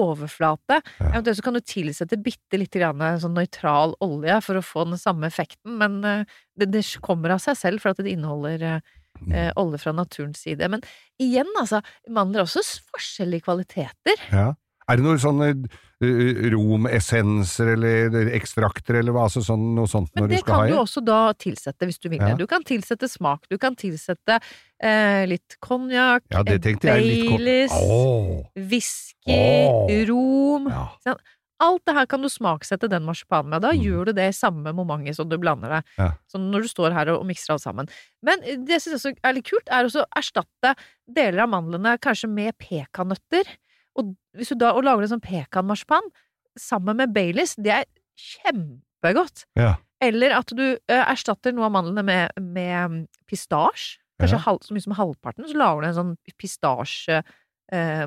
S2: overflate.
S1: Ja.
S2: Eventuelt så kan du tilsette bitte lite grann sånn nøytral olje for å få den samme effekten, men eh, det, det kommer av seg selv for at det inneholder eh,
S1: Mm.
S2: eh, olje fra naturens side. Men igjen, altså, mandler har også s- forskjellige kvaliteter.
S1: Ja. Er det noen sånne eh, romessenser eller ekstrakter eller hva, altså sånn, noe sånt
S2: Men
S1: når du
S2: det
S1: skal
S2: kan
S1: ha
S2: du
S1: i?
S2: også da tilsette hvis du vil
S1: Ja.
S2: det. Du kan tilsette smak, du kan tilsette eh, litt konjakk,
S1: Ja, det tenkte jeg litt
S2: Baileys.
S1: Åh,
S2: whisky,
S1: Åh.
S2: rom
S1: ja.
S2: Alt det her kan du smaksette den marsipanen med. Da
S1: Mm.
S2: gjør du det i samme momentet som du blander det.
S1: Ja.
S2: Sånn når du står her og, og mikser alt sammen. Men eh, det jeg syns også er litt kult, er også å erstatte deler av mandlene kanskje med pekannøtter. Og hvis du da og lager en sånn pekanmarsipan sammen med Baileys, det er kjempegodt.
S1: Ja.
S2: Eller at du eh, erstatter noe av mandlene med, med mm, pistasje. Kanskje
S1: Ja.
S2: halv, så mye som halvparten, så lager du en sånn eh, pistasjemarsipan.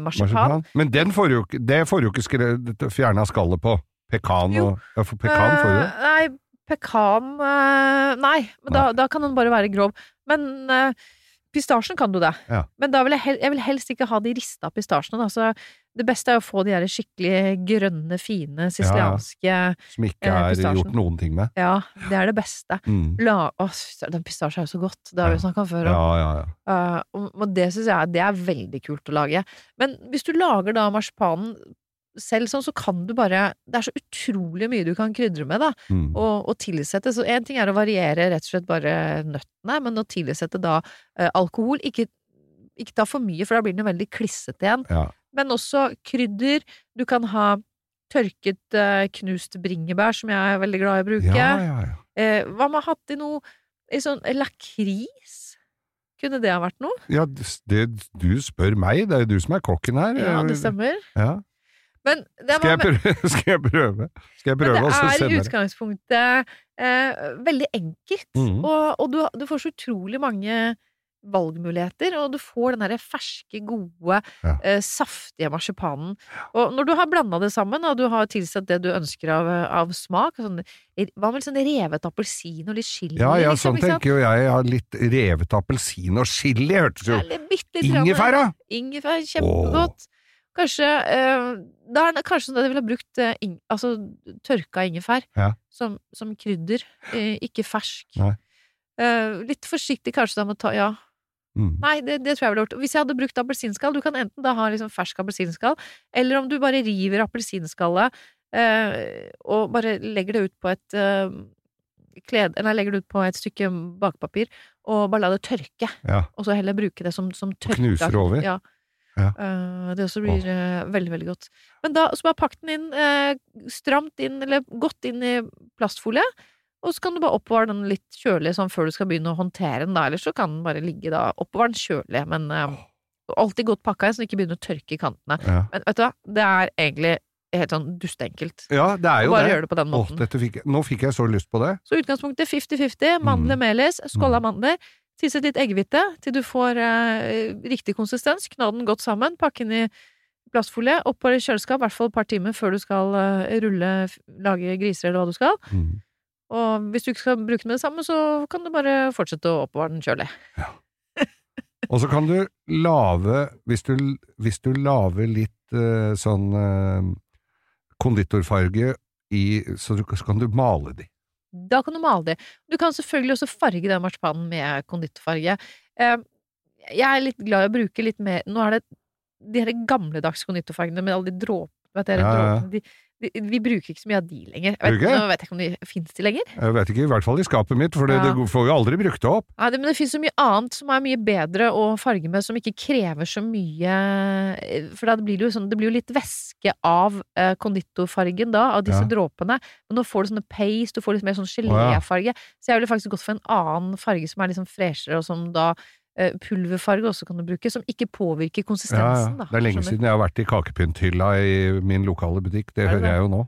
S1: Marsipan. Men den får du jo ikke, det får du jo ikke skre- fjerna skallet på. Pekan
S2: Jo.
S1: og ja, for Pekan får du.
S2: Eh, Nei, pekan eh, Nei, men da, da kan den bare være grov. Men eh, pistasjen kan du det.
S1: Ja.
S2: Men da vil jeg, hel, jeg vil helst ikke ha de rista pistasjene. Da. Så det beste er å få de der skikkelig grønne, fine sicilianske ja,
S1: Som ikke
S2: eh,
S1: er
S2: pistasjen.
S1: gjort noen ting med.
S2: det er det beste.
S1: Mm.
S2: La, å, fy søren, den pistasjen er jo så godt. Det har vi
S1: Ja.
S2: jo snakka om før.
S1: Ja,
S2: og-
S1: ja, ja.
S2: Eh, og- og det syns jeg det er veldig kult å lage. Men hvis du lager da marsipanen selv sånn, så kan du bare Det er så utrolig mye du kan krydre med, da.
S1: Mm.
S2: og, og tilsette. Så én ting er å variere rett og slett bare nøttene, men å tilsette da eh, alkohol ikke, ikke ta for mye, for da blir den jo veldig klissete igjen.
S1: Ja.
S2: Men også krydder. Du kan ha tørket eh, knust bringebær, som jeg er veldig glad i å bruke.
S1: ja, ja, ja.
S2: Eh, hva med å ha hatt i noe i sånn lakris? Kunne det ha vært noe?
S1: Ja, det, det- du spør meg, det er jo du som er kokken her.
S2: Ja, det stemmer.
S1: Ja.
S2: Men det
S1: Skal jeg
S2: var,
S1: prøve? Skal jeg prøve, skal jeg
S2: men
S1: prøve og så
S2: det er i
S1: sende det?
S2: utgangspunktet eh, veldig enkelt.
S1: Mhm.
S2: Og, og du, du får så utrolig mange valgmuligheter, og du får den derre ferske, gode,
S1: Ja.
S2: eh, saftige marsipanen. Og når du har blanda det sammen, og du har tilsatt det du ønsker av, av smak sånn, Hva med litt sånn revet appelsin og litt chili?
S1: Ja, ja, sånn
S2: liksom, ikke sant?
S1: tenker jo jeg. Jeg har litt revet appelsin og chili, hørtes jo.
S2: Eller bitte litt grann-
S1: Ingefæra!
S2: Ingefær, kjempegodt. Kanskje eh, Da er det kanskje sånn at jeg ville ha brukt eh, ing, altså, tørka ingefær
S1: Ja.
S2: som, som krydder, eh, ikke fersk.
S1: Nei.
S2: Eh, litt forsiktig kanskje da med å ta Ja.
S1: Mm.
S2: Nei, det, det tror jeg ville gjort. Hvis jeg hadde brukt appelsinskall Du kan enten da ha liksom fersk appelsinskall, eller om du bare river appelsinskallet eh, og bare legger det ut på et eh, kled... Nei, legger det ut på et stykke bakpapir og bare la det tørke
S1: Ja.
S2: og så heller bruke det som, som tørka.
S1: knuser over?
S2: Ja.
S1: Ja.
S2: Eh, det også blir eh, veldig, veldig godt. Men da så bare pakk den inn, eh, stramt inn, eller godt inn i plastfolie. Og så kan du bare oppbevare den litt kjølig sånn før du skal begynne å håndtere den, da. Ellers så kan den bare ligge da. Oppbevare den kjølig, men eh, alltid godt pakka inn, så den ikke begynner å tørke i kantene.
S1: Ja.
S2: Men vet du hva, det er egentlig helt sånn dusteenkelt.
S1: ja, det er jo
S2: Bare
S1: det.
S2: gjør det på den
S1: Åh,
S2: måten.
S1: dette fikk, jeg- nå fikk jeg så lyst på det.
S2: Så utgangspunktet 50-50, mandler, melis, skål av mandler. Tilsett litt eggehvite til du får eh, riktig konsistens. Kna den godt sammen, pakk den i plastfolie, opp på kjøleskap i hvert fall et par timer før du skal eh, rulle, f- lage griser eller hva du skal.
S1: Mm.
S2: Og hvis du ikke skal bruke den med det samme, så kan du bare fortsette å oppbevare den kjølig.
S1: Og så kan du lage Hvis du, hvis du lager litt eh, sånn eh, konditorfarge i Så, du, så kan du male de.
S2: Da kan du male det. Du kan selvfølgelig også farge den marsipanen med konditorfarge. Eh, Jeg er litt glad i å bruke litt mer Nå er det de her gamledagse konditorfargene med alle de dråpene vet dere,
S1: Ja, ja.
S2: dråpene, de, de, Vi bruker ikke så mye av de lenger. Jeg
S1: Gjør
S2: vet,
S1: du ikke?
S2: nå vet jeg ikke om de fins de lenger.
S1: Jeg vet ikke, i hvert fall i skapet mitt, for det,
S2: Ja.
S1: det får jo aldri brukt det opp.
S2: Nei, det, men det fins så mye annet som er mye bedre å farge med, som ikke krever så mye eh, For da blir det jo sånn Det blir jo litt væske av eh, konditorfargen da, av disse
S1: Ja.
S2: dråpene. Men nå får du sånne paste, du får litt mer sånn
S1: ja.
S2: geléfarge. Så jeg ville faktisk gått for en annen farge som er liksom freshere, og som da eh, Pulverfarge også kan du bruke, som ikke påvirker
S1: Ja,
S2: konsistensen,
S1: ja.
S2: da.
S1: Det er lenge
S2: Skjønner.
S1: siden jeg har vært i kakepynthylla i min lokale butikk, det
S2: Er det
S1: hører
S2: det?
S1: jeg jo nå.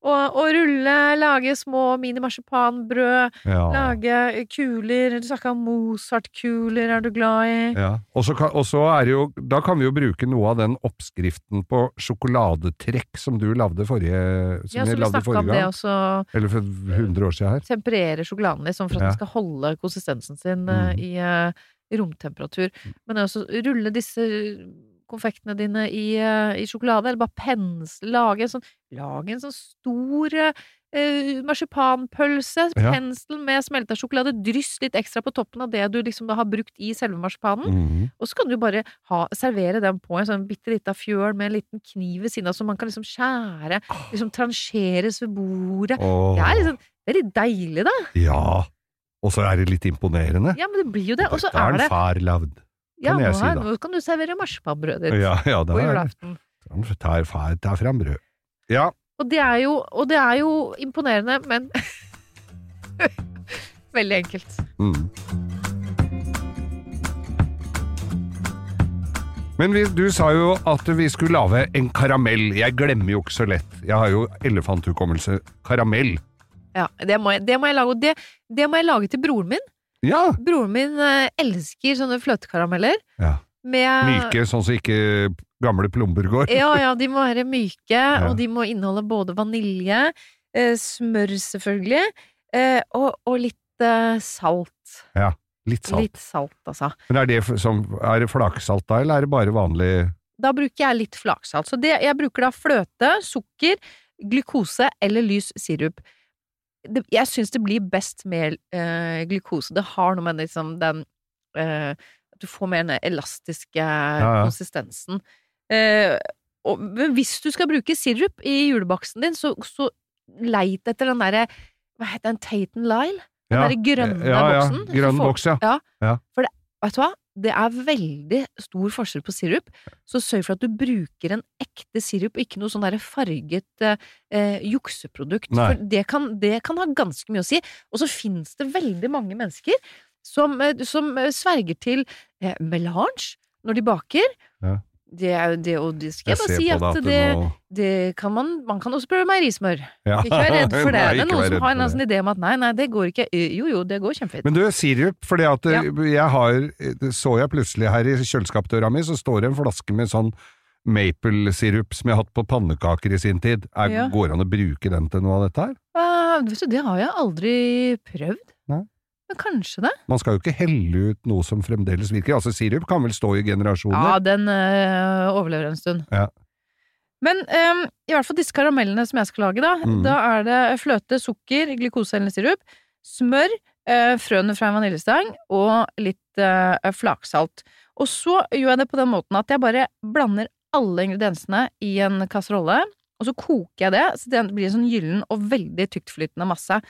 S2: Og, og rulle, lage små mini-marsipanbrød,
S1: Ja.
S2: lage kuler Du snakka om Mozart-kuler, er du glad i?
S1: Ja. Og så kan, og så er det jo, da kan vi jo bruke noe av den oppskriften på sjokoladetrekk som du lagde forrige, som
S2: Ja, så
S1: jeg
S2: vi
S1: lagde
S2: snakka
S1: forrige
S2: om det
S1: gang.
S2: også.
S1: Eller for 100 år siden her.
S2: temperere sjokoladen litt, sånn for at
S1: Ja.
S2: den skal holde konsistensen sin eh,
S1: Mhm.
S2: i, eh, i romtemperatur.
S1: Mm.
S2: Men også rulle disse konfektene dine i, eh, i sjokolade, eller bare pensle Lage en sånn, lage en sånn stor eh, marsipanpølse.
S1: Ja.
S2: Pensel med smelta sjokolade. Dryss litt ekstra på toppen av det du liksom da har brukt i selve marsipanen.
S1: Mhm.
S2: Og så kan du bare ha, servere den på en sånn bitte lita fjøl med en liten kniv ved siden av, så man kan liksom skjære, liksom transjeres ved bordet.
S1: Åh.
S2: Det er liksom det er litt deilig, da.
S1: Ja, og så er det litt imponerende.
S2: Ja, men det blir jo det. Og så
S1: har
S2: er det
S1: far lagd.
S2: Ja,
S1: kan
S2: nå,
S1: jeg si,
S2: er,
S1: da.
S2: nå kan du servere marsipanbrødet ditt
S1: Ja, ja, da
S2: på
S1: er det.
S2: julaften.
S1: Han tar far tar fram brød. Ja,
S2: Og det er jo, og det er jo imponerende, men Veldig enkelt.
S1: mm. Men vi, du sa jo at vi skulle lage en karamell. Jeg glemmer jo ikke så lett. Jeg har jo elefanthukommelse. Karamell.
S2: Ja, det må jeg, det må jeg lage. Og det, det må jeg lage til broren min.
S1: Ja!
S2: Broren min eh, elsker sånne fløtekarameller.
S1: Ja.
S2: Med
S1: Myke, sånn som ikke gamle plomber går.
S2: Ja, ja, de må være myke, og de må inneholde både vanilje, eh, smør selvfølgelig, eh, og, og litt eh, salt.
S1: Litt salt.
S2: Litt salt, altså.
S1: Men er det, f- som, er det flaksalt da, eller er det bare vanlig
S2: Da bruker jeg litt flaksalt. Så det, jeg bruker da fløte, sukker, glukose eller lys sirup. Det, jeg syns det blir best med eh, glukose. Det har noe med liksom den eh, At du får mer den elastiske
S1: ja.
S2: konsistensen. Eh, og, men hvis du skal bruke sirup i julebaksten din, så, så leit etter den derre Hva heter den? Taten Lyle? Den derre grønne
S1: ja, ja.
S2: boksen? Så
S1: Grønn
S2: får-
S1: boks, ja.
S2: Vet du hva? Det er veldig stor forskjell på sirup, så sørg for at du bruker en ekte sirup, og ikke noe sånn der farget eh, eh, jukseprodukt.
S1: Nei.
S2: For det kan, det kan ha ganske mye å si. Og så fins det veldig mange mennesker som, eh, som eh, sverger til eh, melange når de baker.
S1: Ja.
S2: Det er jo det, og det skal
S1: Jeg
S2: jeg bare
S1: ser
S2: si
S1: på
S2: at
S1: deg at du
S2: det,
S1: nå
S2: det kan man Man kan også prøve meierismør.
S1: Ja.
S2: Ikke vær redd for det.
S1: Nei, ikke
S2: det
S1: vær
S2: er
S1: redd
S2: noen som har
S1: for
S2: en
S1: det.
S2: sånn idé om at nei, nei, det går ikke. eh, Jo, jo, det går kjempefint.
S1: Men du, sirup, fordi at eh,
S2: Ja.
S1: jeg har, det så jeg plutselig her i kjøleskapdøra mi, så står det en flaske med sånn maple-sirup som jeg har hatt på pannekaker i sin tid. Er,
S2: Ja.
S1: Går det an å bruke den til noe av dette her?
S2: Ah, vet du, det har jeg aldri prøvd.
S1: Nei.
S2: Men kanskje det.
S1: Man skal jo ikke helle ut noe som fremdeles virker. Altså, sirup kan vel stå i
S2: Ja,
S1: generasjoner?
S2: den øh, overlever en stund.
S1: Ja.
S2: Men øhm, i hvert fall disse karamellene som jeg skal lage, da.
S1: Mm.
S2: Da er det fløte, sukker, glukose eller sirup, smør, øh, frøene fra en vaniljestang og litt øh, flaksalt. Og så gjør jeg det på den måten at jeg bare blander alle ingrediensene i en kasserolle, og så koker jeg det, så det blir en sånn gyllen og veldig tyktflytende masse.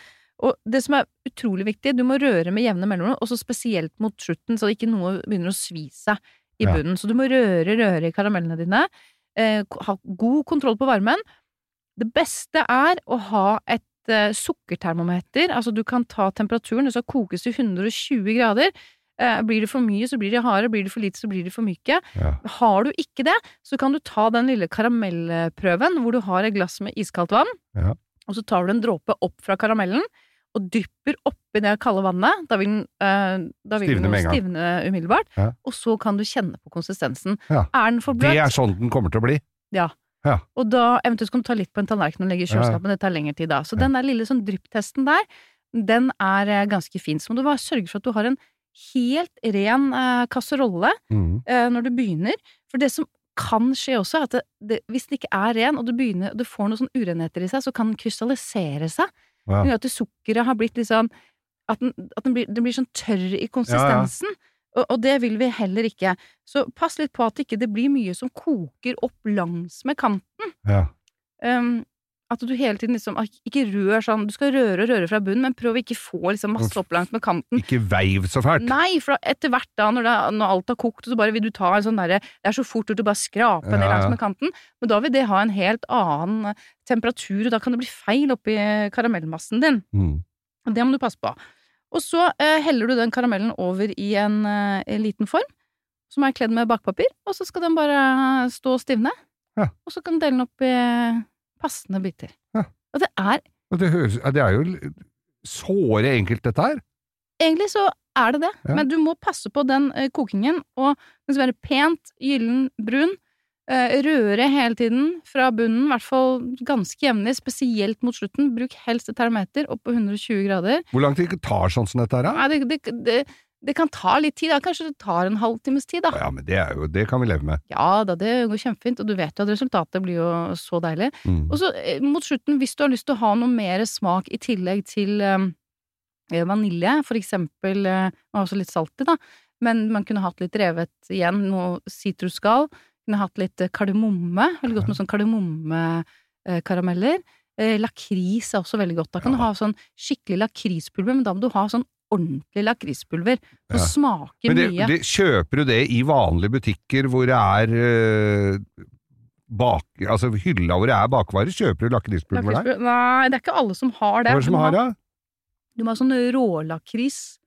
S2: Og det som er utrolig viktig, du må røre med jevne mellomrom, også spesielt mot slutten, så ikke noe begynner å svi seg i
S1: Ja.
S2: bunnen. Så du må røre, røre i karamellene dine. Eh, ko- ha god kontroll på varmen. Det beste er å ha et eh, sukkertermometer. Altså du kan ta temperaturen, det skal kokes til 120 grader. Eh, blir det for mye, så blir det harde. Blir det for lite, så blir det for myke.
S1: Ja.
S2: Har du ikke det, så kan du ta den lille karamellprøven hvor du har et glass med iskaldt vann,
S1: Ja.
S2: og så tar du en dråpe opp fra karamellen og dypper oppi det kalde vannet. Da vil den, eh, da vil
S1: Stivne
S2: den
S1: med en gang.
S2: stivne umiddelbart,
S1: Ja.
S2: og så kan du kjenne på konsistensen.
S1: Ja.
S2: Er den for
S1: Det er
S2: bløt,
S1: sånn den kommer til å bli.
S2: og da eventuelt kan du ta litt på en tallerken og legge i kjøleskapet, det tar lengre tid da. Så
S1: Ja.
S2: den der lille sånn drypptesten der, den er eh, ganske fin. Så må du bare sørge for at du har en helt ren eh, kasserolle
S1: Mm.
S2: eh, når du begynner. For det som kan skje også, er at det, det, hvis den ikke er ren, og du, begynner, og du får noen sånne urenheter i seg, så kan den krystallisere seg.
S1: Ja.
S2: Det gjør at det sukkeret har blitt litt sånn At den, at den, blir, den blir sånn tørr i konsistensen. Og, og det vil vi heller ikke. Så pass litt på at ikke det ikke blir mye som koker opp langs med kanten.
S1: Ja.
S2: Um, at du hele tiden liksom Ikke rør sånn Du skal røre og røre fra bunnen, men prøv å ikke få liksom masse opp langs med kanten.
S1: Ikke veiv så fælt.
S2: Nei, for da- etter hvert da, når, det, når alt har kokt, så bare vil du ta en sånn derre Det er så fort gjort å bare skrape ned
S1: Ja, ja.
S2: langs med kanten, men da vil det ha en helt annen eh, temperatur, og da kan det bli feil oppi eh, karamellmassen din.
S1: Mm.
S2: Og Det må du passe på. Og så eh, heller du den karamellen over i en, eh, en liten form, som er kledd med bakpapir, og så skal den bare eh, stå og stivne.
S1: Ja.
S2: Og så kan du dele den opp i eh, passende biter.
S1: Ja.
S2: Og det er
S1: Og Det, høres, ja, det er jo l- såre enkelt, dette her.
S2: Egentlig så er det det,
S1: Ja.
S2: men du må passe på den eh, kokingen. Og den skal være pent, gyllen, brun. eh, røre hele tiden fra bunnen, i hvert fall ganske jevnlig, spesielt mot slutten. Bruk helst et termometer opp på 120 grader.
S1: Hvor lang tid tar sånn som dette her? da?
S2: Nei, det, det, det, det kan ta litt tid, da. Kanskje det tar en halvtimes tid, da.
S1: Ja, men det, er jo, det kan vi leve med.
S2: Ja da, det går kjempefint, og du vet jo at resultatet blir jo så deilig.
S1: Mm.
S2: Og så eh, mot slutten, hvis du har lyst til å ha noe mer smak i tillegg til eh, vanilje, for eksempel eh, Man har også litt salt i, da, men man kunne hatt litt revet igjen, noe sitrusskall. Kunne hatt litt eh, kardemomme. Veldig godt med sånn kardemommekarameller. Eh, lakris er også veldig godt. Da kan du
S1: Ja.
S2: ha sånn skikkelig lakrispulver, men da må du ha sånn ordentlig lakrispulver. Som
S1: Ja.
S2: smaker
S1: Men det,
S2: mye.
S1: det, kjøper du det i vanlige butikker hvor det er eh, bak, altså hylla hvor det er bakvarer? Kjøper du lakrispulver der?
S2: Lakrispulver- Nei, det er ikke alle som har det.
S1: Hva er det
S2: Du
S1: som
S2: må ha-
S1: har det?
S2: Du må ha sånn rålakris.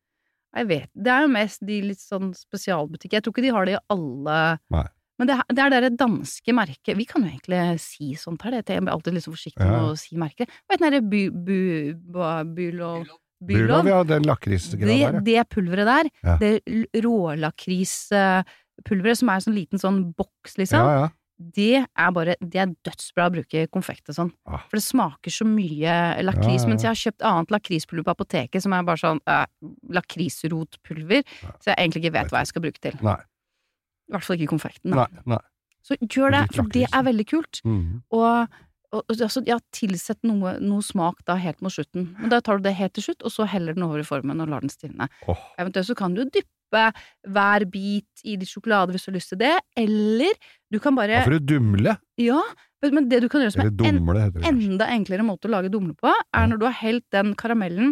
S2: Jeg vet, det er jo mest de litt sånn spesialbutikker. Jeg tror ikke de har det i alle
S1: Nei.
S2: Men det, er- det er det danske merket Vi kan jo egentlig si sånt her, det. jeg blir alltid litt så forsiktig
S1: Ja, ja.
S2: med å si merker. Hva heter det bu, bu, bu, Bulov?
S1: Bulov, ja, den
S2: Det,
S1: lakrisgreia der. ja.
S2: det pulveret der,
S1: Ja.
S2: det l- rålakrispulveret som er en sånn liten sånn boks, liksom,
S1: Ja, ja.
S2: det er bare Det er dødsbra å bruke i konfekt og sånn.
S1: Ah.
S2: For det smaker så mye lakris.
S1: Ja, ja, ja.
S2: Mens jeg har kjøpt annet lakrispulver på apoteket som er bare sånn eh, lakrisrotpulver.
S1: Ah.
S2: Så jeg egentlig ikke vet hva jeg skal bruke til.
S1: Nei.
S2: I hvert fall ikke i konfekten. Da.
S1: Nei, nei.
S2: Så gjør det,
S1: Litt
S2: for det
S1: lakris,
S2: er veldig kult.
S1: Mm.
S2: Og, og og altså, ja, tilsett noe, noe smak da helt mot slutten. Men da tar du det helt til slutt, og så heller den over i formen og lar den stivne.
S1: Åh.
S2: Eventuelt så kan du dyppe hver bit i litt sjokolade hvis du har lyst til det, eller du kan bare
S1: Hva for å dumle?
S2: Ja, men men det du kan gjøre som
S1: Eller
S2: er en,
S1: dumle, heter det kanskje.
S2: enda enklere måte å lage dumle på, er når du har helt den karamellen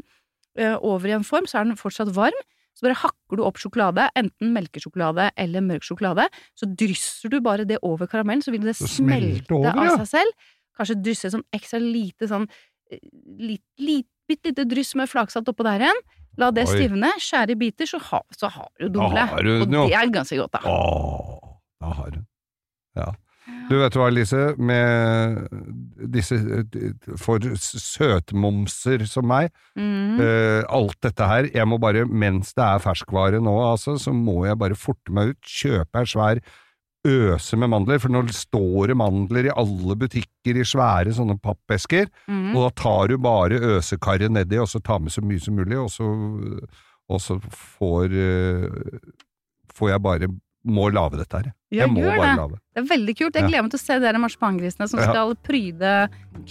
S2: ø, over i en form, så er den fortsatt varm. Så bare hakker du opp sjokolade, enten melkesjokolade eller mørk sjokolade. Så drysser du bare det over karamellen, så vil det
S1: Så smelter det
S2: smelte
S1: over,
S2: av
S1: ja.
S2: seg selv. Kanskje drysse sånn ekstra lite sånn ø, lit, lit, Bitte lite dryss med flaksalt oppå der igjen. La det
S1: Oi.
S2: stivne, skjære i biter, så, ha, så har du dumle.
S1: har du den
S2: Og
S1: jo.
S2: det er ganske godt, da.
S1: Åh, da har hun. Du vet hva, Lise, med disse eh, for s- søtmomser som meg,
S5: Mm.
S1: eh, alt dette her, jeg må bare, mens det er ferskvare nå, altså, så må jeg bare forte meg ut, kjøpe en svær øse med mandler, for nå står det mandler i alle butikker i svære sånne pappesker,
S5: Mm.
S1: og da tar du bare øsekarret nedi, og så tar med så mye som mulig, og så, og så får, eh, får jeg bare, må lage dette her.
S5: Ja,
S1: jeg må
S5: gjør
S1: bare
S5: det.
S1: lage det.
S5: Det er veldig kult. Jeg
S1: Ja.
S5: gleder meg til å se dere marsipangrisene som
S1: Ja.
S5: skal pryde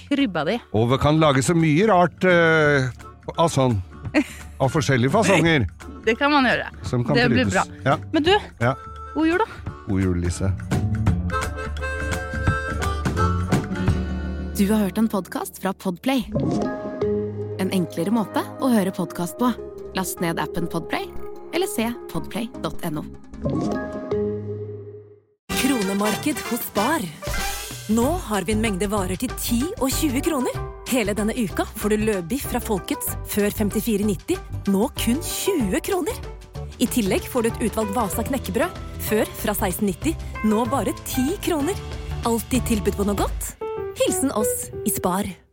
S5: krybba di.
S1: Og vi kan lage så mye rart eh, av sånn. Av forskjellige fasonger.
S5: Det kan man gjøre.
S1: Som kan
S5: Det blir
S1: brytes.
S5: bra.
S1: Ja,
S5: Men du,
S1: Ja.
S5: god jul, da.
S1: god jul, Lise.
S6: Du har hørt en podcast fra Podplay. En enklere måte å høre podcast på. Last ned appen Podplay, eller se podplay.no.
S4: Kronemarked hos Spar. Nå har vi en mengde varer til 10 og 20 kroner. Hele denne uka får du løbiff fra Folkets før 54,90, nå kun 20 kroner. I tillegg får du et utvalgt Vasa knekkebrød, før fra 16,90, nå bare 10 kroner. Alltid tilbud på noe godt. Hilsen oss i Spar.